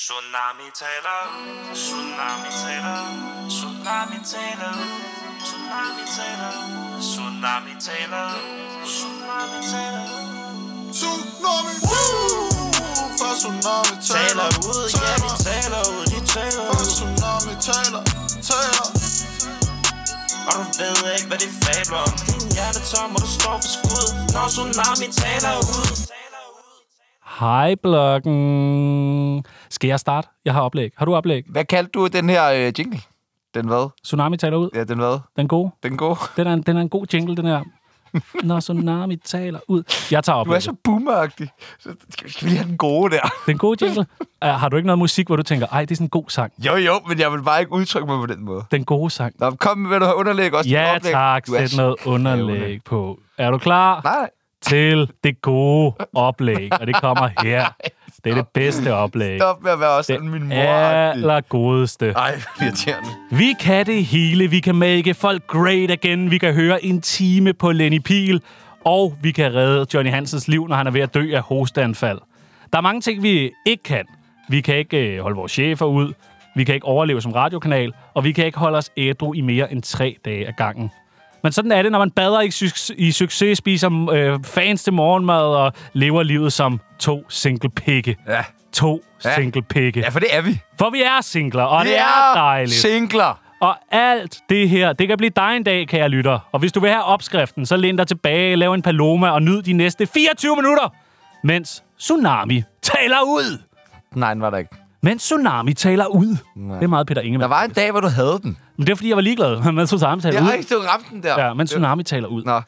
Tsunami taler, tsunami taler, tsunami taler, tsunami taler, tsunami taler, tsunami taler. Tsunami Woo! For tsunami Taler taler ud, ja de taler ud, de taler For ud. tsunami taler Taler Og du ved ikke, hvad de fabler om. Din hjerte tom, og du står for skud, når tsunami taler ud. Hej, blokken. Skal jeg starte? Jeg har oplæg. Har du oplæg? Hvad kaldte du den her øh, jingle? Den hvad? Tsunami taler ud. Ja, den hvad? Den gode. Den gode? Den er, en, den er en god jingle, den her. Når tsunami taler ud. Jeg tager Du er oplæg. så boomeragtig. Så skal vi- skal vi lige have den gode der? Den gode jingle. Uh, har du ikke noget musik, hvor du tænker, ej, det er sådan en god sang. Jo, jo, men jeg vil bare ikke udtrykke mig på den måde. Den gode sang. Nå, kom, vil du have underlæg også? Ja Oplæg. tak, Du er sæt noget underlæg på. Er du klar Nej, til det gode oplæg? Og det kommer her. Det er det bedste oplæg. stop med at være også sådan min Det mor. -agtig. allergodeste. Ej, irriterende. Vi kan det hele. Vi kan make folk great again. Vi kan høre en time på Lenny Pil. Og vi kan redde Johnny Hansens liv, når han er ved at dø af hosteanfald. Der er mange ting, vi ikke kan. Vi kan ikke øh, holde vores chefer ud. Vi kan ikke overleve som radiokanal. Og vi kan ikke holde os ædru i mere end tre dage ad gangen. Men sådan er det, når man bader i, suc- i succes, spiser øh, fans til morgenmad og lever livet som to single pikke. Ja. To Ja. single pikke. ja, for det er vi. For vi er singler, og det Vi er dejligt. Singler. Og alt det her, det kan blive dig en dag, kære lytter. Og hvis du vil have opskriften, så læn dig tilbage, lav en paloma og nyd de næste 24 minutter, mens Tsunami taler ud. Nej, den var der ikke. Mens Tsunami taler ud. Nej. Det er meget Peter Der Ingemann. var en dag, hvor du havde den. Men det er, fordi jeg var ligeglad med Tsunami taler Jeg ud. har ikke stået ramt den der. Ja, men Tsunami taler ud. Nå,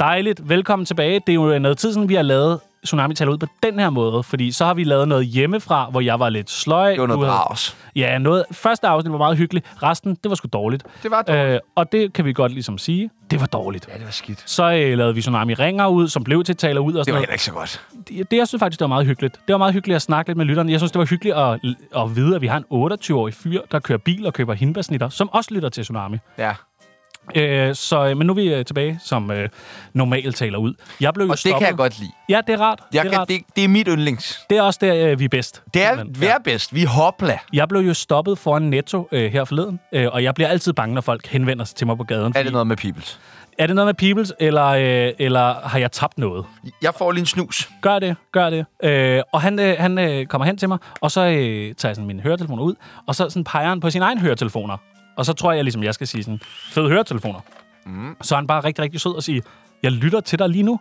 Dejligt. Velkommen tilbage. Det er jo noget tid siden, vi har lavet Tsunami taler ud på den her måde. Fordi så har vi lavet noget hjemmefra, hvor jeg var lidt sløj. det var noget Du havde- bravs. Ja, noget. Første afsnit var meget hyggeligt. Resten, det var sgu dårligt. Det var dårligt. Øh, og det kan vi godt ligesom sige. Det var dårligt. Ja, det var skidt. Så øh, lavede vi Tsunami Ringer ud, som blev til taler ud og Det sådan var noget. heller ikke så godt. Det, det, jeg synes faktisk, det var meget hyggeligt. Det var meget hyggeligt at snakke lidt med lytterne. Jeg synes, det var hyggeligt at, at vide, at vi har en 28-årig fyr, der kører bil og køber hindbærsnitter, som også lytter til Tsunami. Ja. Øh, så, øh, men nu er vi øh, tilbage, som øh, normalt taler ud. Jeg blev jo Og det stoppet. kan jeg godt lide. Ja, det er rart. Jeg det, er kan, rart. det, det er mit yndlings. det er også der, øh, vi er bedst. Det er Simpelthen. vær bedst. Vi er hopla. Jeg blev jo stoppet foran Netto øh, her forleden, øh, og jeg bliver altid bange, når folk henvender sig til mig på gaden. Er fordi- det noget med peoples? er det noget med Peoples, eller, øh, eller har jeg tabt noget? Jeg får lige en snus. Gør det, gør det. Øh, og han, øh, han øh, kommer hen til mig, og så øh, tager jeg sådan mine høretelefoner ud, og så sådan peger han på sine egne høretelefoner. Og så tror jeg, ligesom, jeg skal sige sådan, fede høretelefoner. Mm. Så er han bare rigtig, rigtig sød og siger, jeg lytter til dig lige nu.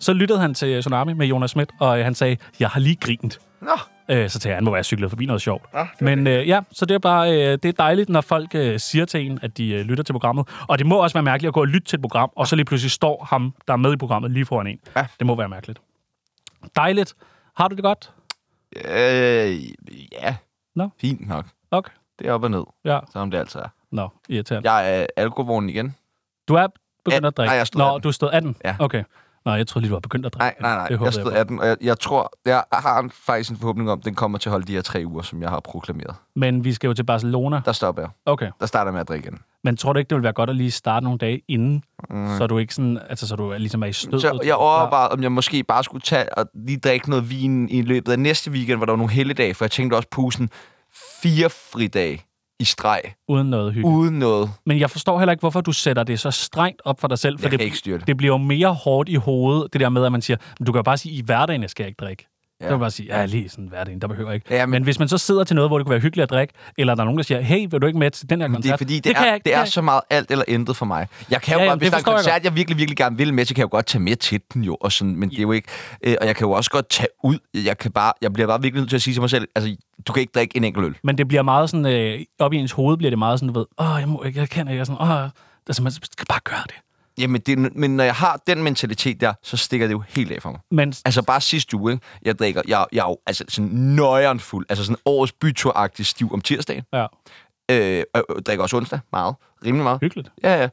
Så lyttede han til øh, Tsunami med Jonas Schmidt, og øh, han sagde, jeg har lige grint. Nå, Øh, så tænker jeg, han må være cyklet forbi noget sjovt. Ah, Ja, Men øh, ja, så det er bare øh, det er dejligt, når folk øh, siger til en, at de øh, lytter til programmet. Og det må også være mærkeligt at gå og lytte til et program, og så lige pludselig står ham, der er med i programmet, lige foran en. Ja. Det må være mærkeligt. Dejligt. Har du det godt? Øh, ja. Nå. Fint nok. Okay. Det er op og ned, Ja. som det altid er. Nå, irriterende. Ja. Jeg er alkoholvognen igen. Du er begyndt Ja, at drikke? nej, jeg stod Nå, 18. du stod 18? Ja. Okay. Nå, jeg troede lige, du var begyndt at drikke. Nej, nej, nej. Det håber jeg jeg, stod på. 18, og jeg, jeg tror, jeg har en, faktisk en forhåbning om, at den kommer til at holde de her tre uger, som jeg har proklameret. Men vi skal jo til Barcelona. Der stopper jeg. Okay. Der starter jeg med at drikke igen. Men tror du ikke, det ville være godt at lige starte nogle dage inden, mm. så du ikke sådan, altså, så du er ligesom er i stødet? Så jeg overvejede, om jeg måske bare skulle tage og lige drikke noget vin i løbet af næste weekend, hvor der var nogle helligdage, for jeg tænkte også på sådan fire fridage i streg, Uden noget hygge. uden noget. Men jeg forstår heller ikke, hvorfor du sætter det så strengt op for dig selv. For Jeg det, kan ikke styre det. det bliver jo mere hårdt i hovedet, det der med, at man siger, "Men du kan jo bare sige, i hverdagen jeg skal jeg ikke drikke. Ja. Ja. Der kan man bare sige, ja, lige sådan hverdagen, der behøver jeg ikke. Ja, men... men- men hvis man så sidder til noget, hvor det kunne være hyggeligt at drikke, eller der er nogen, der siger, hey, vil du ikke med til den her koncert? Det er fordi, det, kan jeg er, ikke, det kan er jeg så meget alt eller intet for mig. Jeg kan jo Ja, ja, jamen, godt, hvis det der er en forstår jeg koncert, jeg, virkelig, virkelig gerne vil med, så kan jeg jo godt tage med til den jo. Og sådan, men det er jo ikke... Øh, og jeg kan jo også godt tage ud. Jeg, kan bare, jeg bliver bare virkelig nødt til at sige til mig selv, altså, du kan ikke drikke en enkelt øl. Men det bliver meget sådan, øh, op i ens hoved bliver det meget sådan, du ved, åh, jeg, må, ikke, jeg kan ikke, jeg er sådan, åh, altså, man skal bare gøre det. Jamen, det, men når jeg har den mentalitet der, så stikker det jo helt af for mig. Men Altså bare sidste uge, ikke? jeg drikker, jeg, jeg er jo altså sådan nøjeren fuld, altså sådan årets bytur stiv om tirsdagen. ja, Øh, og jeg drikker også onsdag, meget, rimelig meget. hyggeligt. Ja, ja.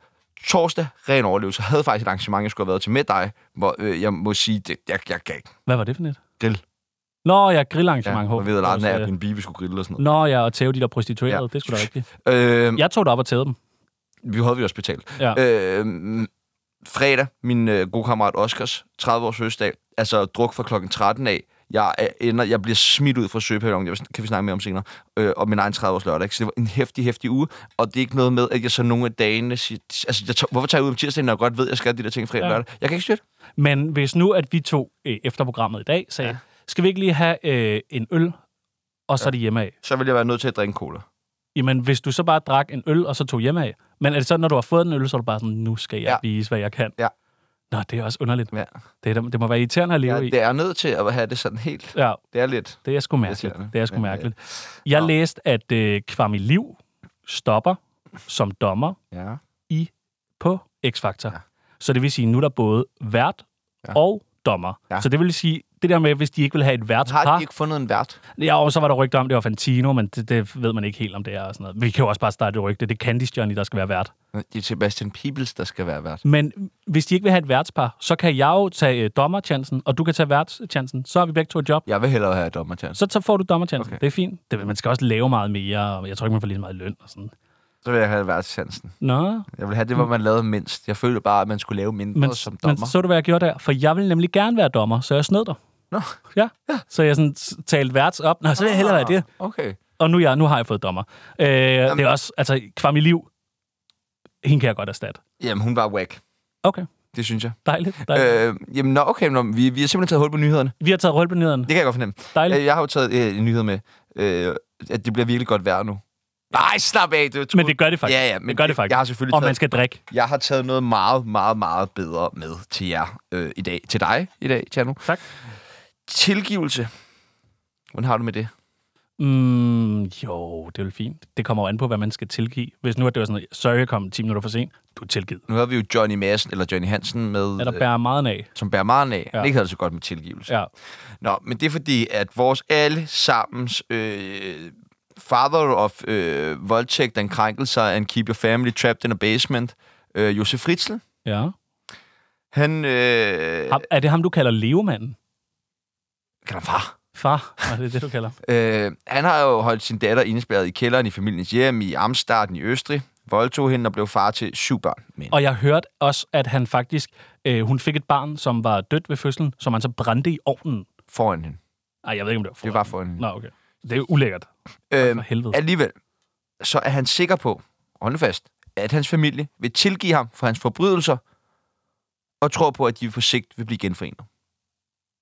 Torsdag, ren overlevelse. Jeg havde faktisk et arrangement, jeg skulle have været til med dig, hvor øh, jeg må sige, det, jeg, jeg kan ikke. Hvad var det for net? Grill. Nå, ja, grillarrangement. Ja, håber og ved jeg, at Larsen af, så, at øh, min bibe skulle grille og sådan noget. Nå, ja, og tæve de der prostituerede, Ja. det skulle da rigtigt. Øh, Jeg tog det op og tævede dem. Vi havde vi også betalt. Mm. Ja. Øh, fredag, min øh, gode kammerat Oscars 30-års fødselsdag, altså druk fra klokken 13 af. Jeg, er- ender, jeg bliver smidt ud fra søpavillonen, det kan vi snakke mere om senere, øh, og min egen 30-års lørdag. ikke? Så det var en hæftig, hæftig uge, og det er ikke noget med, at jeg så nogle af dagene siger, altså, jeg tager, hvorfor tager jeg ud om tirsdagen, når jeg godt ved, at jeg skal de der ting fredag og Ja. lørdag? Jeg kan ikke styre det. Men hvis nu, at vi to øh, efter programmet i dag sagde, ja. skal vi ikke lige have øh, en øl, og så ja. er det hjemme af? Så vil jeg være nødt til at drikke cola. Jamen, hvis du så bare drak en øl, og så tog hjemme af. Men er det sådan, når du har fået en øl, så er du bare sådan, nu skal jeg ja. Ja. vise, hvad jeg kan. Ja. Nå, det er også underligt. Ja. Det, er, det må være irriterende at leve Ja, i. det er nødt til at have det sådan helt. Ja, Det er lidt... det er sgu mærkeligt. Irriterende. Det er sgu Men, øh, mærkeligt. Jeg nå. læste, at øh, Kvami Liv stopper som dommer Ja. i på X-Factor. Ja. Ja. Så det vil sige, nu er der både vært ja. Ja. og dommer. Ja. Ja. Så det vil sige, det der med, hvis de ikke vil have et værtspar... Har de ikke fundet en vært? Ja, og så var der rygter om, det var Fantino, men det, det ved man ikke helt, om det er og sådan noget. Vi kan jo også bare starte et rygte. Det er Candice Johnny, der skal være vært. Det er Sebastian Peebles, der skal være vært. Men hvis de ikke vil have et værtspar, så kan jeg jo tage øh, dommerchancen, og du kan tage værtschancen. Så har vi begge to et job. Jeg vil hellere have dommer til. Så, så får du dommerchancen. Okay. Okay. Det er fint. Det, man skal også lave meget mere, og jeg tror ikke, man får lige så meget løn og sådan. Så vil jeg have værtschansen. Nå, Jeg vil have det, hvor man lavede mindst. Jeg følte bare, at man skulle lave mindre Mm. men, men, som men dommer. så du, hvad jeg gjorde der? For jeg ville nemlig gerne være dommer, så jeg snød dig. Nå, Ja. ja. Så jeg sådan s- talte værts op. Nå, så vil jeg hellere være det. okay. Og nu, er jeg, nu har jeg fået dommer. Øh, det er også, altså, kvam i liv. Hende kan jeg godt erstatte. Jamen, hun var whack. Okay, Det synes jeg. dejligt. dejligt. Øh, jamen, nå, okay. Nå, vi, vi har simpelthen taget hul på nyhederne. Vi har taget rølpenederen. Det kan jeg godt fornemme. Dejligt. Øh, Jeg har jo taget øh, en nyhed med, øh, at det bliver virkelig godt vejr nu. Nej, slap af. Det er jo Men det gør det faktisk. øh, Ja, ja, men det gør det det- faktisk. jeg har selvfølgelig Og man taget- skal drikke. Jeg har taget noget meget, meget, meget bedre med til jer øh, i dag. Til dig i dag, Tjerno. Tak. Tilgivelse. Hvordan har du med det? Mm, jo, det er vel fint. Det kommer jo an på, hvad man skal tilgive. Hvis nu at det var sådan, sorry, jeg kom 10 minutter for sent, du er tilgivet. Nu havde vi jo Johnny Madsen, eller Johnny Hansen med, Er der øh, bærer meget af? som bærer meget af. Ja. Ja. Det ikke havde det så godt med tilgivelse. Ja. Nå, men det er fordi, at vores alle sammens øh, father of øh, voldtægt and krænkelser and keep your family trapped in a basement, øh, Josef Fritzl, ja. han... Øh, Ham, er det ham, du kalder levemanden? Kan han far? Far, er det det, du kalder? Øh, han har jo holdt sin datter indespærret i kælderen i familiens hjem i Amstaden i Østrig, voldtog hende og blev far til syv børn. Men Og jeg hørte også, at han faktisk, øh, hun fik et barn, som var dødt ved fødslen, som han så brændte i ovnen. foran hende. Ej, jeg ved ikke, om det var for. Det var foran hende. Nå, okay. Det er jo ulækkert. Øhm, for helvede. alligevel, så er han sikker på, hold nu fast, at hans familie vil tilgive ham for hans forbrydelser, og tror på, at de på sigt vil blive genforenet.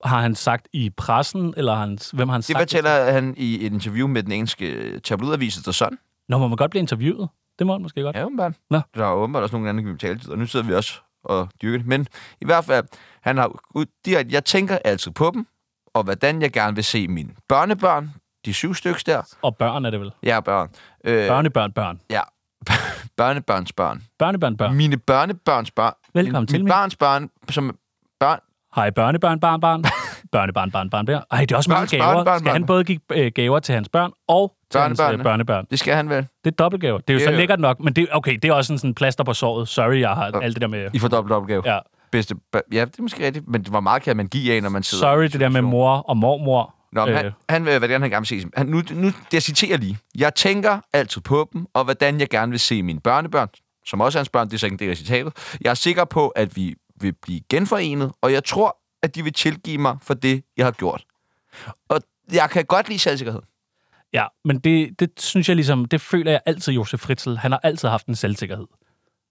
Har han sagt i pressen, eller har han, hvem har han Det sagt? fortæller han i et interview med den engelske tabloidavis The Sun. Nå, må man godt blive interviewet? Det må man måske godt. Ja, åbenbart. Nå. Der er åbenbart også nogle andre, der kan betale til, og nu sidder vi også og dyrker det. Men i hvert fald, han har ud direkte, jeg tænker altid på dem, og hvordan jeg gerne vil se mine børnebørn, de syv stykker der. Og børn er det vel? Ja, børn. Øh, Børnebørn, børn. Ja. Børnebørns børn. Børnebørn, børn. Mine børnebørns børn. Velkommen min, til, Mit Mie. barns børn, som børn. Hej, børnebørn, barn, barn. børnebørn, barn, barn, børn. Ej, det er også mange Børns gaver. børn, børn, Skal han børn. både give øh, gaver til hans børn og til hans øh, Børnebørnene. børnebørn? Det skal han vel. Det er dobbeltgaver. Det er jo Det så er jo- lækkert nok, men det, okay, det er også en sådan plaster på såret. Sorry, jeg har alt det der med... I får dobbelt opgave. Ja. Bedste bør- ja, det er måske rigtigt, men hvor meget kan man give af, når man sidder? Sorry, det der med mor og mormor. Nå, men Øh, han, han vil, hvordan han gerne vil se dem. Han, nu, nu, jeg citerer lige. Jeg tænker altid på dem, og hvordan jeg gerne vil se mine børnebørn, som også er hans børn, det er så ikke en del af citatet. Jeg er sikker på, at vi vil blive genforenet, og jeg tror, at de vil tilgive mig for det, jeg har gjort. Og jeg kan godt lide selvsikkerhed. Ja, men det, det synes jeg ligesom, det føler jeg altid, Josef Fritzl. Han har altid haft en selvsikkerhed.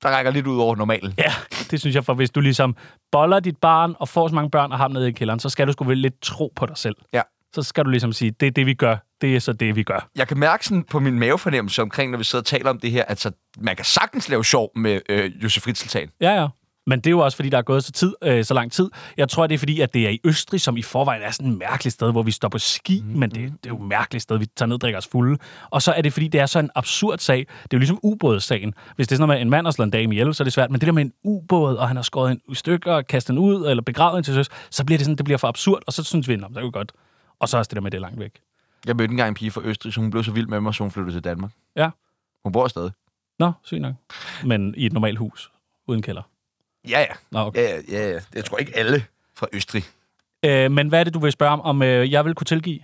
Der rækker lidt ud over normalen. Ja, det synes jeg, for hvis du ligesom boller dit barn og får så mange børn og har dem nede i kælderen, så skal du sgu vel lidt tro på dig selv. Ja. Så skal du ligesom sige, det er det, vi gør. Det er så det, vi gør. Jeg kan mærke sådan på min mavefornemmelse omkring, når vi sidder og taler om det her, at så, man kan sagtens lave sjov med øh, Josef Ritzl-tagen. Ja, ja. Men det er jo også, fordi der er gået så, tid, øh, så lang tid. Jeg tror, det er fordi, at det er i Østrig, som i forvejen er sådan et mærkeligt sted, hvor vi står på ski, mm-hmm. men det, det er jo et mærkeligt sted, vi tager ned og drikker os fulde. Og så er det, fordi det er så en absurd sag. Det er jo ligesom ubådssagen. Hvis det er sådan noget med, en mand har slået en dame ihjel, så er det svært. Men det der med en ubåd, og han har skåret en i stykker, og kastet den ud, eller begravet den til søs, så bliver det sådan, det bliver for absurd, og så synes vi, "Nå, men det er jo godt. Og så er også det der med, det er langt væk. Jeg mødte engang en pige fra Østrig, så hun blev så vild med mig, så hun flyttede til Danmark. Ja. Hun bor stadig. Nå, sygt nok. Men i et normalt hus, uden kælder. Ja, ja. Nå, okay. Ja, ja, ja. Jeg tror ikke alle fra Østrig. Øh, men hvad er det, du vil spørge om, om øh, jeg vil kunne tilgive?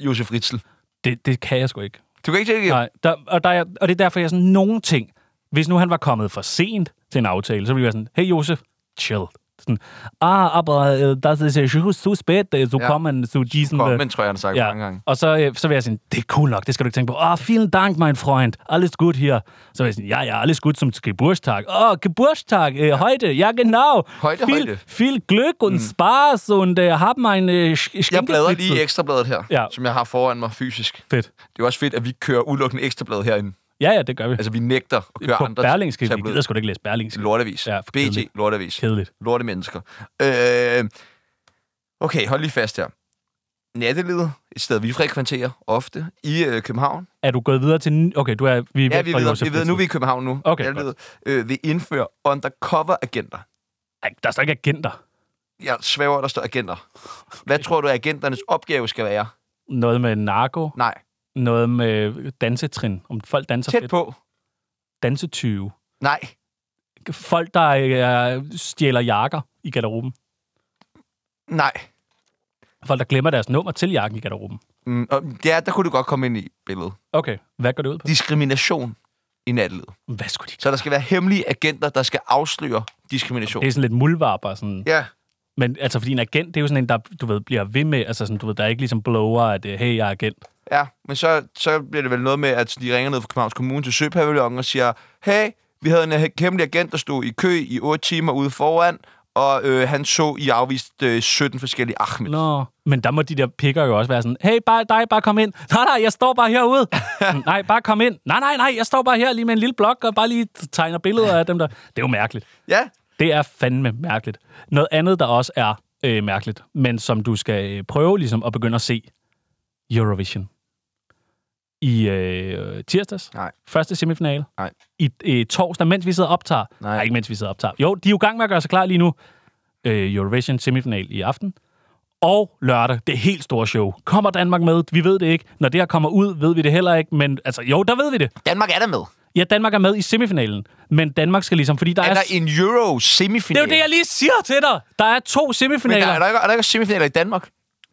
Josef Ritzl. Det, det kan jeg sgu ikke. Du kan ikke tilgive? Nej, der, og, der, er- og det er derfor, jeg er sådan nogle ting. Hvis nu han var kommet for sent til en aftale, så ville jeg være sådan, hey Josef, chill. Sådan, ah, aber øh, das ist ja schon so spät, øh, so Ja. kommen zu diesen... øh, Kommen, tror jeg, han har sagt ja. mange gange. Og så, øh, så vil jeg sige, det er cool nok, det skal du ikke tænke på. Åh, oh, vielen Dank, mein Freund. Alles gut hier. Så vil jeg sige, ja, ja, alles gut zum Geburtstag. Åh, oh, Geburtstag, øh, heute, ja genau. Heute, viel, heute. Mm. Viel Glück und Spaß und øh, haben eine Sch- Jeg bladrer Schinkenfritzel. lige i ekstrabladet her, Ja. ja. som jeg har foran mig fysisk. Fedt. Det er jo også fedt, at vi kører udelukkende ekstrabladet herinde. Ja, ja, det gør vi. Altså, Altså, vi nægter at køre på andre Berlingske, vi tabloider. gider sgu da ikke læse Berlingske. Lortevis. Ja, Ja, for kedeligt. BT, lortevis. Kedeligt. Lorte mennesker. Øh, okay, hold lige fast her. Nattelivet, et sted, vi frekventerer ofte i øh, København. Er du gået videre til... n- Okay, du er... Vi er Ja, væk vi fra ved, Josef vi ved nu er vi i København nu. Okay, Nattelivet, øh, vil indføre undercover-agenter. Ej, der står ikke agenter. Jeg svæver, der står agenter. Hvad tror du, agenternes opgave skal være? Noget med narko. Nej, Noget med dansetrin. Om folk danser tæt fedt. på. Dansetyve. Nej, folk, der øh, stjæler jakker i garderoben. nej. Folk, der glemmer deres nummer til jakken i garderoben. Mm, og ja, der kunne du godt komme ind i billedet. Okay, hvad går det ud på? Diskrimination i nattelivet. Hvad skulle de... Så der skal være hemmelige agenter, der skal afsløre diskrimination. Det er sådan lidt mulvarper, sådan. Ja. Ja, Men altså, fordi en agent, det er jo sådan en, der, du ved, bliver ved med. Altså, sådan, du ved, der er ikke ligesom blower, at øh, hey, jeg er agent. ja. Men så, så bliver det vel noget med, at de ringer ned fra Københavns Kommune til Søpavillonen og siger, hey, vi havde en he- hemmelig agent, der stod i kø i 8 timer ude foran, og øh, han så i afvist øh, 17 forskellige Ahmed. Nå. Men der må de der pikker jo også være sådan, hey, bare dig, bare kom ind. Nej, nej, jeg står bare herude. nej, bare kom ind. Nej, nej, nej, jeg står bare her lige med en lille blok og bare lige tegner billeder af dem der. Det er jo mærkeligt. Ja, Det er fandme mærkeligt. Noget andet, der også er øh, mærkeligt, men som du skal øh, prøve ligesom at begynde at se, Eurovision. I øh, tirsdags, Nej. første semifinale. Nej. I øh, torsdag, mens vi sidder og optager. Nej. ikke mens vi sidder og optager. Jo, de er jo i gang med at gøre sig klar lige nu. Øh, Eurovision semifinal i aften. Og lørdag, det helt store show. Kommer Danmark med? Vi ved det ikke. Når det her kommer ud, ved vi det heller ikke. Men altså, jo, der ved vi det. Danmark er der med. Ja, Danmark er med i semifinalen. Men Danmark skal ligesom, fordi der Er er der en Euro-semifinal? det er jo det, jeg lige siger til dig. Der er to Men semifinaler. der, er, der ikke, er der ikke semifinaler i Danmark?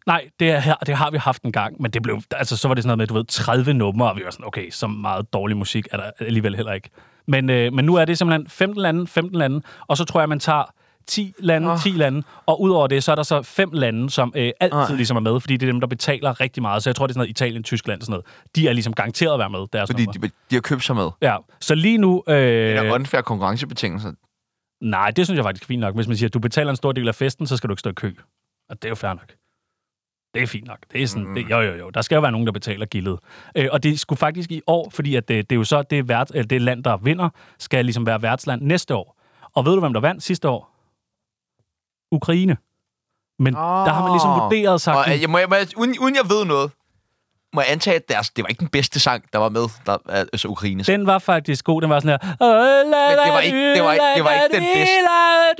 Nej, det, er her, det har vi haft en gang, men det blev, altså, så var det sådan noget med, du ved, 30 numre, og vi var sådan, okay, så meget dårlig musik er der alligevel heller ikke. Men, øh, men nu er det simpelthen 15 lande, 15 lande, og så tror jeg, man tager 10 lande, oh. 10 lande, og udover det, så er der så fem lande, som øh, altid oh. ligesom er med, fordi det er dem, der betaler rigtig meget, så jeg tror, det er sådan noget Italien, Tyskland og sådan noget. De er ligesom garanteret at være med, deres Fordi numre. de, de har købt sig med. Ja, så lige nu... Det Øh, er unfair konkurrencebetingelser. nej, det synes jeg faktisk er fint nok. Hvis man siger, at du betaler en stor del af festen, så skal du ikke stå i kø. Og det er jo fair nok. Det er fint nok. Det er sådan, mm. det, jo, jo, jo. Der skal jo være nogen, der betaler gildet. Øh, og det skulle faktisk i år, fordi at øh, det, det er jo så det, vært, eller det land, der vinder, skal ligesom være værtsland næste år. Og ved du, hvem der vandt sidste år? Ukraine. Men oh. der har man ligesom Åh. vurderet sagt... Og, øh, jeg, må, jeg, må, jeg, uden, uden jeg ved noget, må jeg antage, at deres, det var ikke den bedste sang, der var med, der, altså Ukraines. Den var faktisk god. Den var sådan her... Men det var ikke- det var ikke- det var ikke den bedste.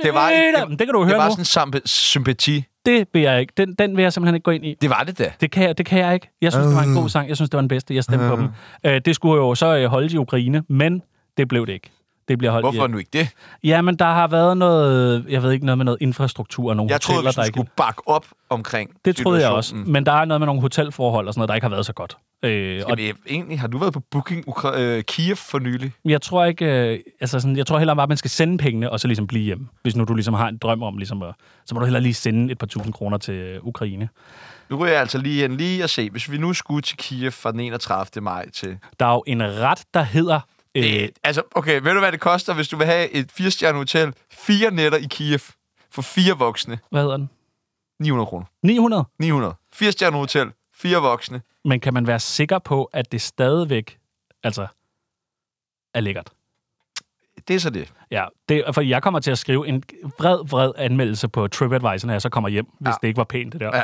Det, var, det, det kan du høre det var nu. sådan en samp- sympati. Det vil jeg ikke. Den, den vil jeg simpelthen ikke gå ind i. Det var det da. Det kan, jeg, det kan jeg ikke. Jeg synes, det var en god sang. Jeg synes, det var den bedste. Jeg stemte på dem. Øh, det skulle jo så øh, holdes i Ukraine, men det blev det ikke. Det bliver holdt Hvorfor nu ikke det? i... Jamen, der har været noget... Jeg ved ikke, noget med noget infrastruktur og nogle Jeg troede, hoteller, at der vi ikke... skulle Mm. bakke op omkring Det troede jeg også. situationen. Men der er noget med nogle hotelforhold og sådan noget, der ikke har været så godt. Øh, og Jamen, egentlig, har du været på Booking Ukra- øh, Kiev for nylig? jeg tror ikke... Øh, altså sådan, jeg tror heller bare, at man skal sende pengene og så ligesom blive hjemme. Hvis nu du ligesom har en drøm om ligesom at... Så må du heller lige sende et par tusind kroner til øh, Ukraine. Nu ryger jeg altså lige hen lige at se. Hvis vi nu skulle til Kiev fra den 31. maj til... Der er jo en ret, der hedder... Øh, Øh, altså, okay, ved du, hvad det koster, hvis du vil have et 4-stjernet hotel? Fire nætter i Kiev for fire voksne. Hvad hedder den? 900 kroner. 900? 900. 4-stjernet hotel. Fire voksne. Men kan man være sikker på, at det stadigvæk altså, er lækkert? Det er så det. Ja, det, for jeg kommer til at skrive en vred, vred anmeldelse på TripAdvisor, når jeg så kommer hjem, hvis Ja. det ikke var pænt, det der. Ja,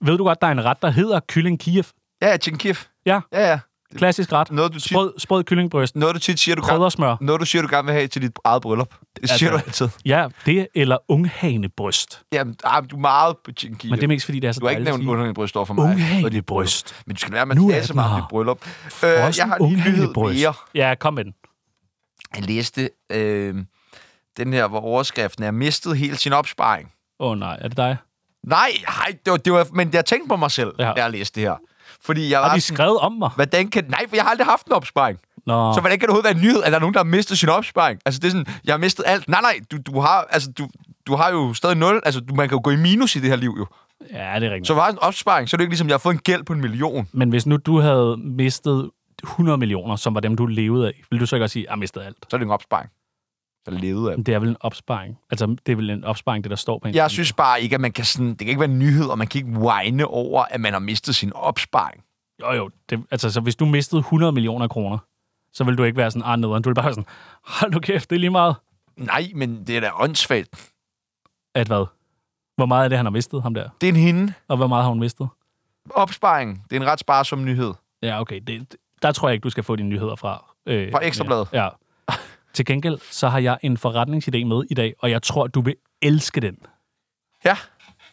Ved du godt, der er en ret, der hedder kylling Kiev? ja, ja chicken Kiev. Ja, Ja, ja. klassisk ret. Noget, du tit, Sprød, sprød kyllingbryst, noget, du tit siger, du gerne, kryddersmør. noget, du siger, du gerne vil have til dit eget bryllup. Det siger du altid. Ja, det eller unghanebryst. Jamen, ah, men du er meget på chicken Kiev. Men det er mest, fordi det er så Du har ikke dejligt at nævnt sige. underhængebryst over for mig. og dit Unghanebryst. Men du skal lade med Nu at er tale så den meget her. om dit bryllup. Øh, jeg har lige en nyhed mere. Ja, kom med den. Jeg læste øh, den her, hvor overskriften er, mistet hele sin opsparing. Åh oh, nej, er det dig? Nej, nej, det var, det var, men jeg tænkte på mig selv, Ja. ja. da jeg læste det her. Fordi jeg Har var de sådan, skrevet om mig? hvordan kan... Nej, for jeg har aldrig haft en opsparing. Nå, Så hvordan kan det overhovedet være en nyhed, at der er nogen, der har mistet sin opsparing? Altså, det er sådan, jeg har mistet alt. Nej, nej, du, du har... Altså, du, du har jo stadig nul. Altså, du, man kan jo gå i minus i det her liv jo. Ja, det er rigtigt. Så Så... hvis jeg har en opsparing, så er det ikke ligesom, jeg har fået en gæld på en million. Men hvis nu du havde mistet 100 millioner, som var dem, du levede af, ville du så ikke også sige, at jeg mistede alt? Så er det en opsparing. Så levede af. Men Det er vel en opsparing. Altså, det er vel en opsparing, det der står på en. Jeg synes bare ikke, at man kan sådan... Det kan ikke være en nyhed, og man kan ikke whine over, at man har mistet sin opsparing. Jo, jo. Det, altså, så hvis du mistede 100 millioner kroner, så ville du ikke være sådan, ah, nederen. Du ville bare være sådan, hold nu kæft, det er lige meget. Nej, men det er da åndssvagt. At hvad? Hvor meget er det, han har mistet, ham der? Det er en hende. Og hvor meget har hun mistet? Opsparing. Det er en ret sparsom nyhed. Ja, okay. Det, der tror jeg ikke, du skal få dine nyheder fra. Øh, Fra Ekstra Bladet? Ja. Til gengæld, så har jeg en forretningsidé med i dag, og jeg tror, du vil elske den. Ja.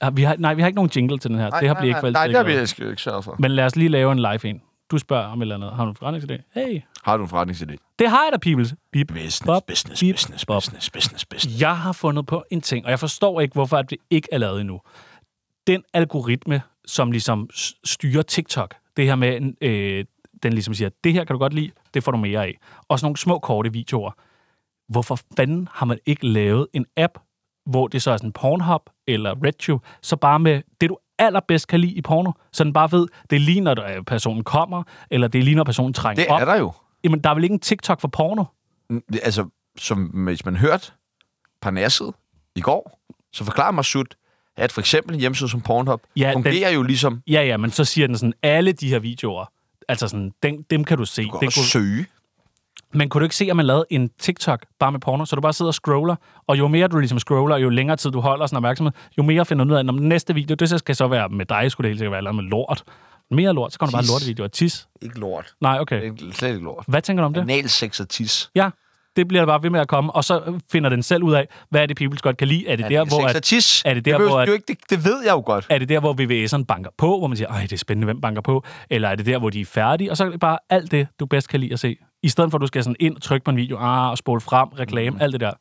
Ja, Vi har, nej, vi har ikke nogen jingle til den her. det her bliver ikke for nej, Ekstra nej, det har vi Bladet. ikke ikke sørget for. Men lad os lige lave en live en. Du spørger om et eller andet. Har du en forretningsidé? Hey, Har du en forretningsidé? det har jeg da, peoples. Bip, Business, bop, business, bip, business, bop. business, business, business. Jeg har fundet på en ting, og jeg forstår ikke, hvorfor at det ikke er lavet endnu. Den algoritme, som ligesom s- styrer TikTok, det her med, øh, den ligesom siger, det her kan du godt lide, det får du mere af. Og sådan nogle små korte videoer. Hvorfor fanden har man ikke lavet en app, hvor det så er sådan Pornhub eller RedTube, så bare med det, du allerbedst kan lide i porno, så den bare ved, det er lige, når øh, personen kommer, eller det er lige, når personen trænger Det op. er der jo. Jamen, der er vel ikke en TikTok for porno? Mm, altså, som hvis man hørte Parnasset i går, så forklarer mig sut, at for eksempel en hjemmeside som Pornhub Ja, ja, den- fungerer den... jo ligesom, du Ja, ja, men så siger den sådan, alle de her videoer, altså sådan, dem, dem kan du se. kan Det også søge. men kunne du ikke se, at man lavede en TikTok bare med porno, så du bare sidder og scroller, og jo mere du ligesom scroller, jo længere tid du holder sådan opmærksomhed, jo mere finder du ud af, at "Nå, men den næste video, det så skal så være med dig, skulle det helt sikkert være lavet med lort. Mere lort, så kommer der bare Tis. lortevideoer. Tis. Ikke lort. Nej, okay. Ikke- Slet ikke lort. Hvad tænker du om det? Analsex og tis. Ja, det bliver der bare ved med at komme, og så finder den selv ud af, hvad er det, people godt kan lide? Er det der, hvor... Sex og At, tis. er det der, behøves hvor du at- jo ikke, det, det ved jeg jo godt. er det der, hvor VVS'eren banker på, hvor man siger, ej, det er spændende, hvem banker på? Eller er det der, hvor de er færdige? Og så er det bare alt det, du bedst kan lide at se. I stedet for, at du skal sådan ind og trykke på en video, ah, og spole frem, reklame, mm. alt det der.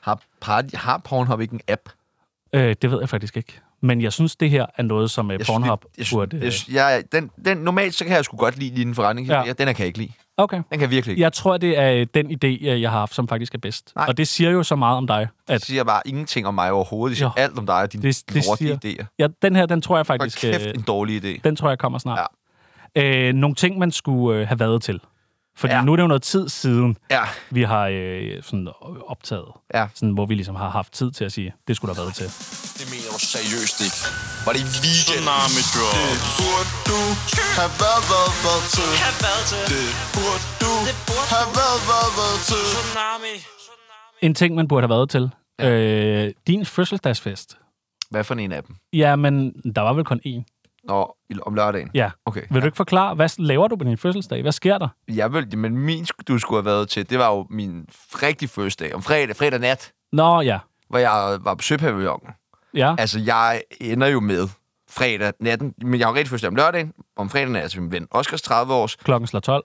Har, par, har Pornhub ikke en app? Øh, det ved jeg faktisk ikke. Men jeg synes, det her er noget, som uh, Jeg synes, Pornhub det- jeg, burde... synes, øh, jeg, synes, jeg, den, den, normalt så kan jeg sgu godt lide lige en forretning. Ja. Ja. Den her kan jeg ikke lide. okay. Den kan jeg virkelig ikke. Jeg tror, det er øh, den idé, øh, jeg har haft, som faktisk er bedst. Nej. Og det siger jo så meget om dig, Det at siger bare ingenting om mig overhovedet. Det siger Jo. alt om dig og dine det, det lortige siger... idéer. Ja, den her, den tror jeg Og faktisk... kæft, øh, en dårlig idé. Den tror jeg kommer snart. Ja. Øh, nogle ting, man skulle øh, have været til. Fordi ja. Ja. nu er det jo noget tid siden, Ja, vi har øh, sådan optaget. Ja. Sådan, hvor vi ligesom har haft tid til at sige, det skulle der have været til. Det mener du seriøst ikke. Var det weekend? Tsunami drop. Det burde du have været, været, været til. Kan hvad til? Det burde du Det burde have været, været, været til. Tsunami. En ting, man burde have været til. Ja. Øh, din fødselsdagsfest. hvad for en af dem? Ja, men der var vel kun én. Nå, i- om lørdagen. Ja. Okay. Vil du ikke forklare, hvad laver du på din fødselsdag? Hvad sker der? Jeg vil, men min, sk- du skulle have været til, det var jo min rigtig første dag, om fredag, fredag nat, Nå, ja. hvor jeg var på Søpavillonen. Ja, Altså, jeg ender jo med fredag natten, men jeg har jo rigtig første dag om lørdagen, om fredagen er altså min ven Oscars 30 års, klokken slår 12.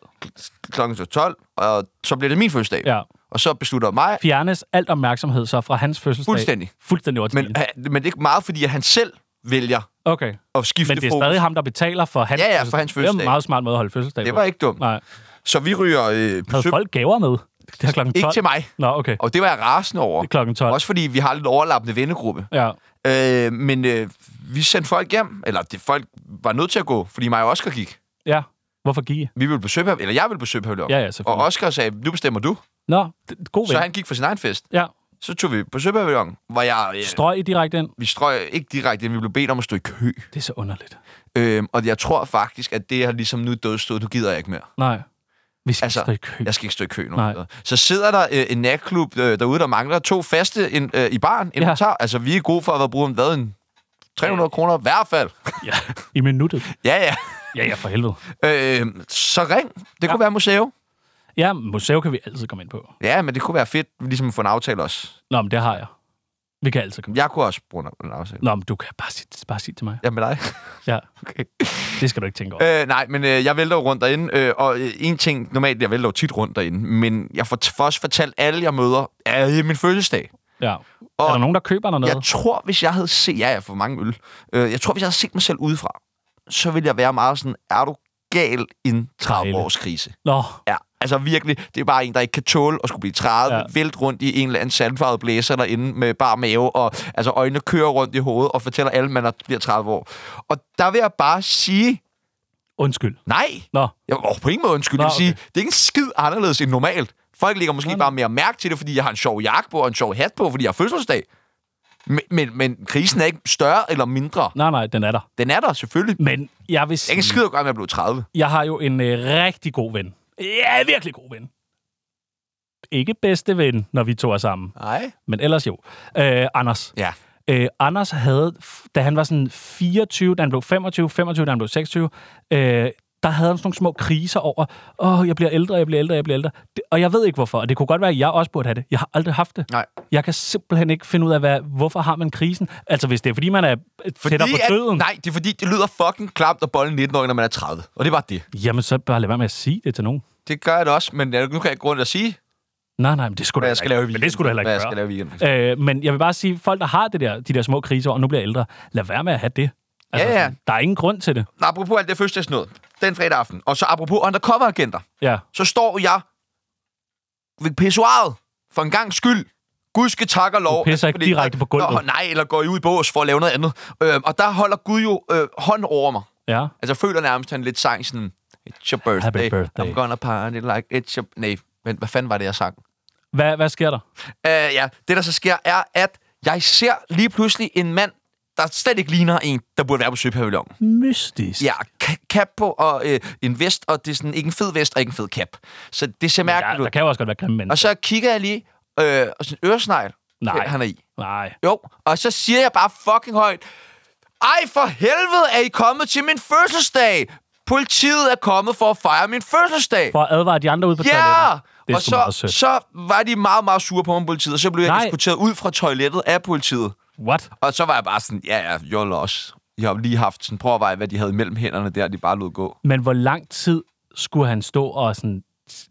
klokken så 12, og så bliver det min første dag. Ja. Og så beslutter mig, Fjernes alt opmærksomhed så fra hans fødselsdag. Fuldstændig. Fuldstændig over til men, din. han- men det er ikke meget, fordi at han selv vælger Okay. at skifte Men det er fokus. stadig ham, der betaler for hans Ja, ja, for fødselsdag. hans Det er fødselsdag. en meget smart måde at holde fødselsdag Det på. var ikke dumt. Nej. Så vi ryger øh, på Havde sø... folk gaver med? Det er klokken 12. Ikke til mig. Nå, okay. Og det var jeg rasende over. Det er klokken 12. Også fordi vi har lidt overlappende vennegruppe. Ja. Øh, men øh, vi sendte folk hjem, eller det, folk var nødt til at gå, fordi mig og Oscar gik. Ja. Hvorfor gik I? Vi ville besøge pav- eller jeg ville besøge pavillon. Ja, ja, og selvfølgelig. Oscar sagde, nu bestemmer du. Nå, d- god Så ven. han gik for sin egen fest. Ja. Så tog vi på Søpavillon, hvor jeg... Øh, Strøg I direkte ind? vi strøg ikke direkte, vi blev bedt om at stå i kø. Det er så underligt. Øhm, og jeg tror faktisk, at det her ligesom nu er dødstået, nu gider jeg ikke mere. Nej. Vi skal altså, Altså, stå i kø. Jeg skal ikke stå i kø nu. Nej. Så sidder der øh, en natklub øh, derude, der mangler to faste in, øh, i baren. Ja. Altså, vi er gode for at have brugt hvad, en 300 kroner i hvert fald. Ja. I minuttet. Ja, ja. Ja, ja, for helvede. Øh, så ring. Det ja. kunne være museum. Ja, museum kan vi altid komme ind på. Ja, men det kunne være fedt ligesom at få en aftale også. Nå, men det har jeg. Vi kan altid komme Jeg kunne også bruge en- en aftale. Nå, men du kan bare sige, bare sige til mig. Ja, med dig. Ja, Okay. det skal du ikke tænke over. Øh, nej, men øh, jeg vælter jo rundt derinde, øh, og øh, en ting, normalt, jeg vælter jo tit rundt derinde, men jeg får, får også fortalt alle, jeg møder, er øh, min fødselsdag. Ja. er der nogen, der køber dig noget? Jeg tror, hvis jeg havde set... Ja, jeg får mange øl. Øh, jeg tror, hvis jeg havde set mig selv udefra, så ville jeg være meget sådan, er du gal i en Dejligt. 30-års krise? Nå, Ja, Altså virkelig, det er bare en, der ikke kan tåle at skulle blive træet, Ja. ja. vælt rundt i en eller anden sandfarvet blæser derinde med bar mave, og altså øjnene kører rundt i hovedet og fortæller alle, at man er- bliver 30 år. Og der vil jeg bare sige, Undskyld. nej, Nå, jeg vil på ingen måde undskyld. Nå, jeg vil sige, okay. det er ikke en skid anderledes end normalt. Folk lægger måske bare mere mærke til det, fordi jeg har en sjov jakke på og en sjov hat på, fordi jeg har fødselsdag. Men, men, men krisen er ikke større eller mindre. nej, nej, den er der. Den er der selvfølgelig. Det Men jeg vil er ikke sige, en skid at gøre med at blive 30. jeg har jo en øh, rigtig god ven. Ja, virkelig god ven. Ikke bedste ven, når vi to er sammen. Nej. Men ellers jo. Øh, Anders. Ja. Øh, Anders havde, f- da han var sådan 24, da han blev 25, 25, da han blev 26, øh, der havde han sådan nogle små kriser over, åh, jeg bliver ældre, jeg bliver ældre, jeg bliver ældre. Det, og jeg ved ikke hvorfor, og det kunne godt være, at jeg også burde have det. Jeg har aldrig haft det. Nej. Jeg kan simpelthen ikke finde ud af, hvad, hvorfor har man krisen? Altså, hvis det er, fordi man er fordi tættere på at, døden, Nej, det er fordi, det lyder fucking klamt at bolle 19 år, når man er 30. Og det er bare det. jamen så bare lad være med at sige det til nogen. Det gør jeg da også, men nu kan jeg gå rundt og sige, Nej, nej, men det skulle hvad jeg skal lave i weekenden. Men det skulle du heller ikke Hvad jeg gøre. skal lave i Øh, weekenden. men jeg vil bare sige, folk, der har det der, de der små kriser, og nu bliver jeg ældre, lad være med at have det. Ja, ja. sådan, Der er ingen grund til det. Nå, apropos alt det første noget. Den fredag aften. Og så apropos undercover-agenter. Ja. Så står jeg ved pissoiret for en gang skyld. Gud skal takke og lov. Du pisser ikke direkte på gulvet. Nå, nej, eller går I ud i bås for at lave noget andet. Øh, og der holder Gud jo øh, hånden over mig. Ja. Altså, jeg føler nærmest, han lidt sang sådan... It's your birthday. birthday." I'm gonna party like it's your... Nej, men hvad fanden var det, jeg sang? Hvad, hvad sker der? Øh, ja, det der så sker, er, at jeg ser lige pludselig en mand, der slet ikke ligner en, der burde være på søpavillonen. Mystisk. Ja, ka- cap på og øh, en vest, og det er sådan ikke en fed vest og ikke en fed cap. Så det ser der, mærkeligt der ud. kan jo også godt være grimme mennesker. Og så kigger jeg lige, øh, og sådan en øresnegl, Nej. øh, han er i. Nej. Jo, og så siger jeg bare fucking højt, ej for helvede er I kommet til min fødselsdag! Politiet er kommet for at fejre min fødselsdag! For at advare de andre ude på Ja! toilettet. Det er og sgu meget så, sødt. så var de meget, meget sure på mig, politiet, og så blev jeg Nej. diskuteret ud fra toilettet af politiet. What? Og så var jeg bare sådan, ja, ja, you're lost. Jeg har lige haft sådan, prøv at veje, hvad de havde mellem hænderne der, de bare lod gå. Men hvor lang tid skulle han stå og sådan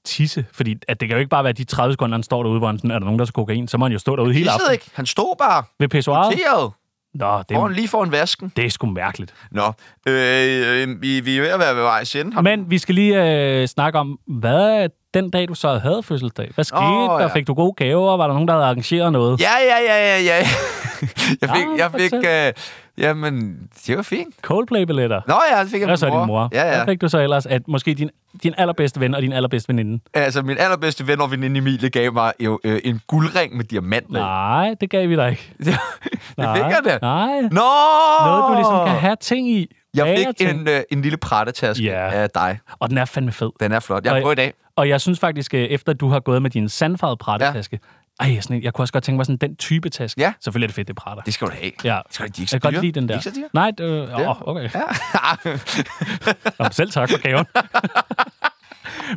tisse? Fordi at det kan jo ikke bare være de 30 sekunder, han står derude, hvor han sådan, er der nogen, der skal kokain? Så må han jo stå derude hele Pissede aftenen ikke. Han stod bare ved pissoiret. teret Nå, det, foran, er- lige foran vasken. det er sgu mærkeligt. Nå, øh, øh, vi, vi er ved at være ved vejs ende. Har- Men vi skal lige øh, snakke om, hvad den dag, du så havde fødselsdag? Hvad skete Åh, oh, ja. der? ja. Fik du gode gaver? Var der nogen, der havde arrangeret noget? Ja, ja, ja, ja, ja. Jeg fik, Nå, jeg fik, fortæl. øh, jamen, det var fint. Coldplay-billetter? Nå ja, det fik jeg Hvad så din mor? Ja, ja. Hvad fik du så ellers? At måske din, din allerbedste ven og din allerbedste veninde? Altså, min allerbedste ven og veninde Emilie gav mig jo øh, en guldring med diamanter. i. Nej, det gav vi dig ikke. det fik jeg da. Nej. Nå! Noget, du ligesom kan have ting i. Jeg fik Bagerting. en, øh, en lille prattetaske Ja. af dig. Og den er fandme fed. Den er flot. Jeg har Og- prøvet i dag. Og jeg synes faktisk, øh, efter du har gået med din sandfarvede prattetaske, ja. ej, sådan, en- jeg kunne også godt tænke mig sådan den type taske. Ja. Selvfølgelig er det fedt, det pratter. Det skal du da have. Ja, Skal de ikke så jeg kan godt dyre? lide den De er der. ikke så dyre? Nej, det, øh, åh, okay. Ja. Nå, selv tak for gaven.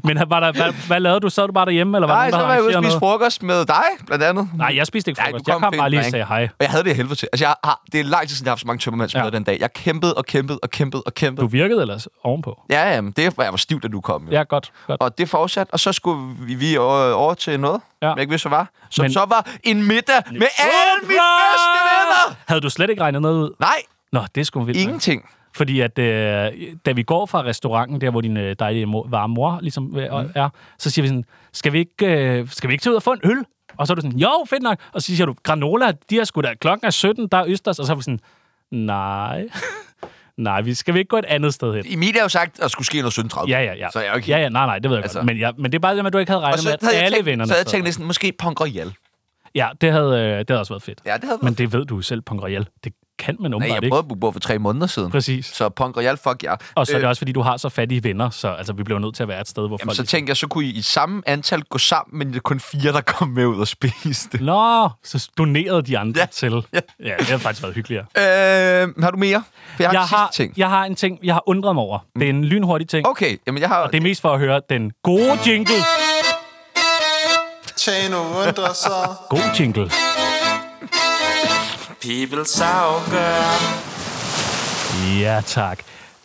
Men var der, hvad, hvad lavede du? Så du bare derhjemme, eller var Nej, der så nogen, var der jeg ude og arrangerede spise noget? frokost med dig, blandt andet. Nej, jeg spiste ikke Nej, frokost. du jeg kom fint, bare lige og dreng. sagde hej. Og jeg havde det af helvede til. Altså, jeg har, det er lang tid siden, jeg har haft så mange tømmermænd som Ja. ja. den dag. Jeg kæmpede og kæmpede og kæmpede og kæmpede. Du Du. virkede ellers ovenpå. Ja, jamen, det var, jeg var stiv, da du kom. Jo. Ja, godt. godt. Og det fortsatte, og så skulle vi, vi over, over til noget, Ja. ja. jeg ikke vidste, hvad var. Som Men- Men... så var en middag med alle mine bedste venner! Havde du slet ikke regnet noget ud? Nej, Nå, det skulle vildt. nok. ingenting. Fordi at øh, da vi går fra restauranten, der hvor din øh, dejlige mor, varme mor ligesom øh, Mm. er, så siger vi sådan, skal vi, ikke, øh, skal vi ikke tage ud og få en øl? Og så er du sådan, jo, fedt nok. Og så siger du, granola, de er sgu da klokken er 17, der er Østers. Og så er vi sådan, nej, nej, vi skal vi ikke gå et andet sted hen? Emilie har jo sagt, at der skulle ske noget 17.30. Ja, ja, ja. Så jeg er jo ikke ja, ja, nej, nej, det ved jeg altså. Altså- godt. Men, ja, men det er bare det, med, at du ikke havde Og regnet så med, havde at alle jeg tænkt, vennerne... så havde jeg sad tænkt der. næsten, måske Punk Royal. Ja, det havde, øh, det havde også været fedt. Ja, det havde Men været. det ved du jo selv, Pongreal. Det kan man Nej, åbenbart jeg ikke. prøvede at bo for tre måneder siden. Præcis. Så Punk Royal, fuck jer. Og så er Øh, det også, fordi du har så fattige venner, så altså, vi bliver nødt til at være et sted, hvor Jamen, folk... så tænkte jeg, så kunne I i samme antal gå sammen, men det er kun fire, der kom med ud og spiste. Øh, Nå, så donerede de andre ja. Ja, til. Ja. ja, det har faktisk været hyggeligere. Øh, har du mere? For jeg har, Jeg jeg har... har, ting. jeg har en ting, jeg har undret mig over. Det er en lynhurtig ting. Okay, jamen jeg har... Det er mest for at høre den gode jingle. Tjano undrer sig. God jingle. People's afgør Ja, tak.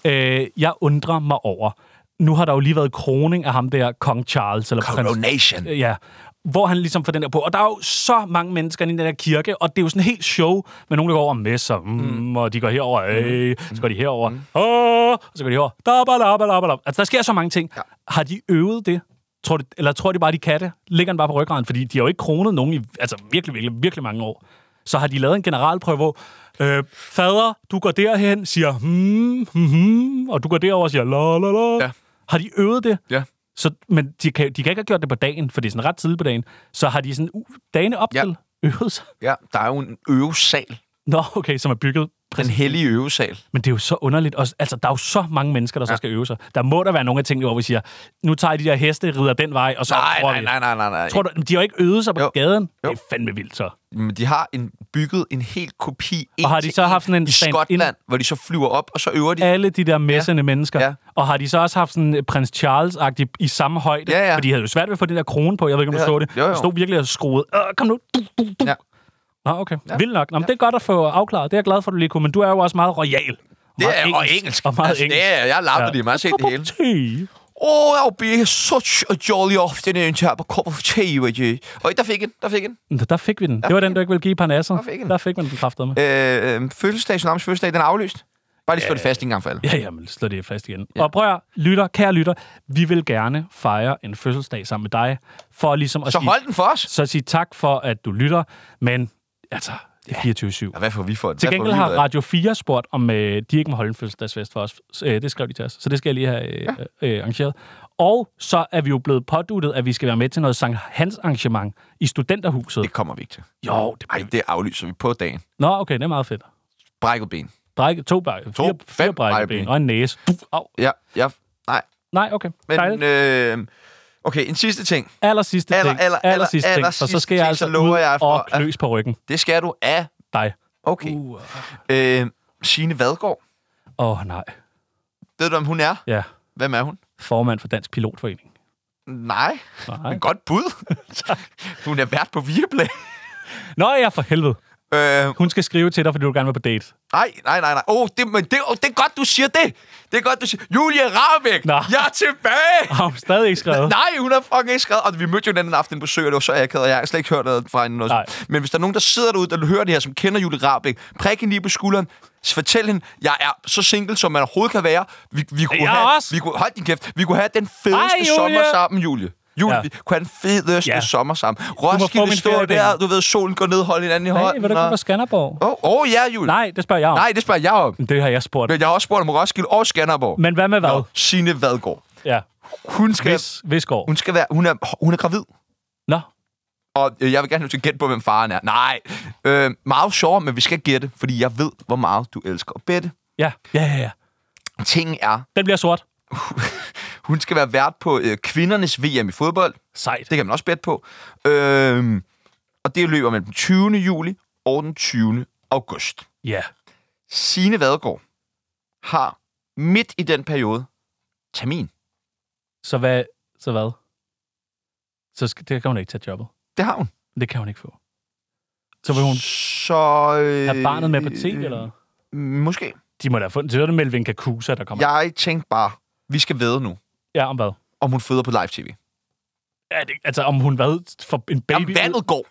Øh, jeg undrer mig over. Nu har der jo lige været kroning af ham der, Kong Charles. Eller prins- Coronation. Øh, Ja, hvor han ligesom får den der på. Og der er jo så mange mennesker inde i den der kirke, og det er jo sådan helt show med nogen, der går over med sig, mm, mm. og de går herover, øh, så går de herover, mm. og så går de herover. Da, ba, la, ba, la, ba, la. Altså, der sker så mange ting. Ja. Har de øvet det? Tror de, eller tror de bare, de kan det? Ligger den bare på ryggraden? Fordi de har jo ikke kronet nogen i altså, virkelig, virkelig, virkelig mange år. Så har de lavet en generalprøve, hvor øh, fader, du går derhen, siger hmm, hmm, hmm, og du går derover og siger la, la, la. Ja. Har de øvet det? Ja. Så, men de kan, de kan ikke have gjort det på dagen, for det er sådan ret tidligt på dagen. Så har de sådan uh, dagene op Ja. til øvet sig. Ja, der er jo en øvesal. Nå, okay, som er bygget. Den Præcis. hellige øvesal. Men det er jo så underligt. Også, altså, der er jo så mange mennesker, der så skal øve sig. Der må der være nogle af tingene, hvor vi siger, nu tager I de der heste, rider den vej, og så Nej, tror nej, vi. nej, nej, nej, nej. Tror du, de har jo ikke øvet sig på Jo. gaden? Jo. Jo. Det er fandme vildt, så. Men de har en, bygget en helt kopi en har de til så haft sådan en i stand-in? Skotland, hvor de så flyver op, og så øver de. Alle de der messende ja. mennesker. Ja. Og har de så også haft sådan øh, prins Charles-agtig i samme højde? Ja, ja. For de havde jo svært ved at få den der krone på. Jeg ved ikke, om du Ja. så det. Jo, jo. De stod virkelig og skruede. Øh, kom nu. Du, du, du. Ja. Nå, okay. Ja. Vildt nok. Nå, men Det er godt at få afklaret. Det er jeg glad for, du lige kunne. Men du er jo også meget royal. Det er og engelsk. Og meget altså, engelsk. Det er, jeg lapper ja. det, man har set det hele. hele. Oh, I'll be such a jolly afternoon to have a cup of tea with you. Og der fik en, der fik en. Der fik vi den. det var den, du ikke ville give Parnasset. Der fik den. Der fik man den kraftede med. Øh, øh, fødselsdag, tsunamis fødselsdag, den er aflyst. Bare lige slå det fast en gang for alle. Ja, jamen, slå det fast igen. Ja. Og prøv at høre, lytter, kære lytter, vi vil gerne fejre en fødselsdag sammen med dig, for ligesom at Så sige, hold den for os. så sige tak for, at du lytter, men altså, det er 24-7. Ja, hvad får vi for det? Til gengæld har Radio 4 spurgt, om øh, de ikke må holde en fødselsdagsfest for os. Så, Øh, det skrev de til os, så det skal jeg lige have øh, ja. øh, arrangeret. Og så er vi jo blevet påduttet, at vi skal være med til noget Sankt Hans arrangement i studenterhuset. Det kommer vi ikke til. Jo, det Ej, det aflyser vi på dagen. Nå, okay, det er meget fedt. Brækket ben. Brække, to brække, fire, fire fem brækkeben brækkeben. og en næse. Du, au. Ja, ja, nej. Nej, okay. Dejligt. Men, øh, okay, en sidste ting. Aller sidste Aller, ting. aller, aller sidste aller, ting. aller Og så sidste skal jeg ting, altså så lover ud jeg for- og knøs på ryggen. Det skal du af. Dig. Okay. Åh, uh, Øh, Signe Vadgaard. oh, nej. Ved du, hvem hun er? Ja. Hvem er hun? Formand for Dansk Pilotforening. Nej. Nej. Men godt bud. hun er vært på Viaplay. Nå ja, for helvede. Øh, Hun skal skrive til dig, fordi du gerne vil på date. nej, nej, nej, nej. Åh, oh, det, men det, oh, det er godt, du siger det. Det er godt, du siger. Julie Rabeck, Nå. jeg er tilbage. Har hun stadig ikke skrevet? Nej, hun har fucking ikke skrevet. Og vi mødte jo den anden aften på Sø, og det var så akavet, og jeg har slet ikke hørt noget fra hende. Noget. Nej. Men hvis der er nogen, der sidder derude, der hører det her, som kender Julie Rabeck, prik hende lige på skulderen, så fortæl hende, jeg er så single, som man overhovedet kan være. Vi, vi kunne jeg have, også. Vi kunne, hold din kæft. Vi kunne have den fedeste Ej, Julie. sommer sammen, Julie. Julie, Ja. ja. vi kunne have den fedeste Ja. ja. sommer sammen. min Roskilde står feriepenge. der, du ved, solen går ned, holder hinanden i Nej, vil hånden. du ikke og- på Skanderborg? Åh, oh, oh, ja, Julie. Nej, det spørger jeg om. Nej, det spørger jeg om. Men Det har jeg spurgt. Men jeg har også spurgt om Roskilde og Skanderborg. Men hvad med hvad? Nå, Signe Vadgaard. Ja. Hun skal, Hvis, hvis går. hun skal være, hun er, hun er gravid. Nå, Og øh, jeg vil gerne have, at du skal gætte på, hvem faren er. Nej, øh, meget sjovt, men vi skal gætte, fordi jeg ved, hvor meget du elsker at bette. ja. Ja, ja, ja. Tingen er, Den bliver sort. hun skal være vært på øh, kvindernes VM i fodbold. Sejt. Det kan man også bette på. Øh, og det løber mellem den 20. juli og den 20. august. Ja. Signe Vadgaard har midt i den periode termin. Så hvad? Så hvad? Så skal, det kan hun ikke tage jobbet. Det har hun. Det kan hun ikke få. Så vil hun Så... Øh, have barnet med på te, eller? Måske. De må da have fundet. Så er det Melvin Kakusa, der kommer. Jeg tænkte bare, vi skal vide nu, Ja, om hvad? om hun føder på live-tv. Er det, altså, om hun hvad? For en baby Jamen, vandet går.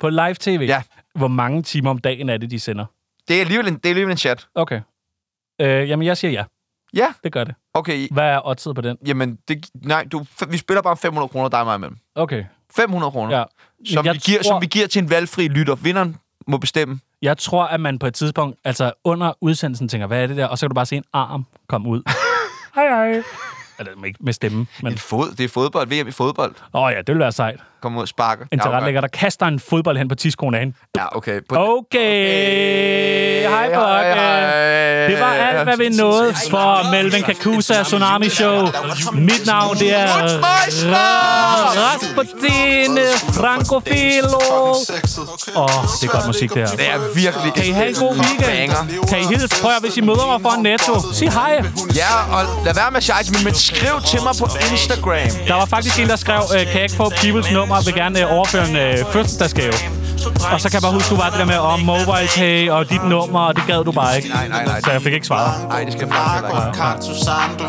på live tv? Ja. Hvor mange timer om dagen er det, de sender? Det er alligevel en, det er alligevel en chat. Okay. Øh, jamen, jeg siger ja. Ja. Det gør det. Okay, Hvad er oddset på den? jamen, det, nej, du, vi spiller bare 500 kroner dig og mig imellem. Okay. 500 kroner, ja. Ja. Mm. som, vi jeg giver, tror, som vi giver til en valgfri lytter. Vinderen må bestemme. Jeg tror, at man på et tidspunkt, altså under udsendelsen, tænker, hvad er det der? Og så kan du bare se en arm komme ud. hej, hej. Eller med- ikke med stemme, men... En fod, det er fodbold, VM i fodbold. Åh oh, ja, det ville være sejt. Kom ud og sparke. En Ja, tilrettelægger, der kaster en fodbold hen på tidskonen af hende. okay. Ja, okay. På Okay, hej Bokke. Det var alt, hvad vi nåede for Melvin Kakusa Tsunami Show. Mit navn, det er Rasputin Francofilo. Åh, oh, det er godt musik, det her. Det er virkelig... Kan I have en god weekend? Kan I hilse? Prøv at, hvis I møder mig for Netto, sig hej. Ja, og lad være med at men, men skriv til mig på Instagram. Der var faktisk en, der skrev, øh, kan jeg ikke få Peoples nummer, og vil gerne øh, overføre en øh, fødselsdagsgave. Og så kan jeg bare huske, du var det der med om mobile pay og dit nummer, og det gad du bare ikke. Nej, nej, nej. Så jeg fik ikke svaret. Nej, det skal jeg faktisk heller ikke.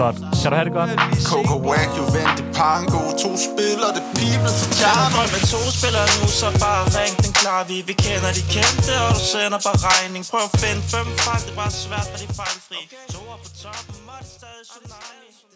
Godt. Kan du have det godt? Coco Wack, Juvente, Pango To spiller det people til Jeg charme drøm med to spillere nu, så bare ring den klar. Vi, vi kender de kendte, og du sender bare regning. Prøv at finde fem fejl, det var svært, men de er fejlfri. To op på toppen, og det er stadig tsunami.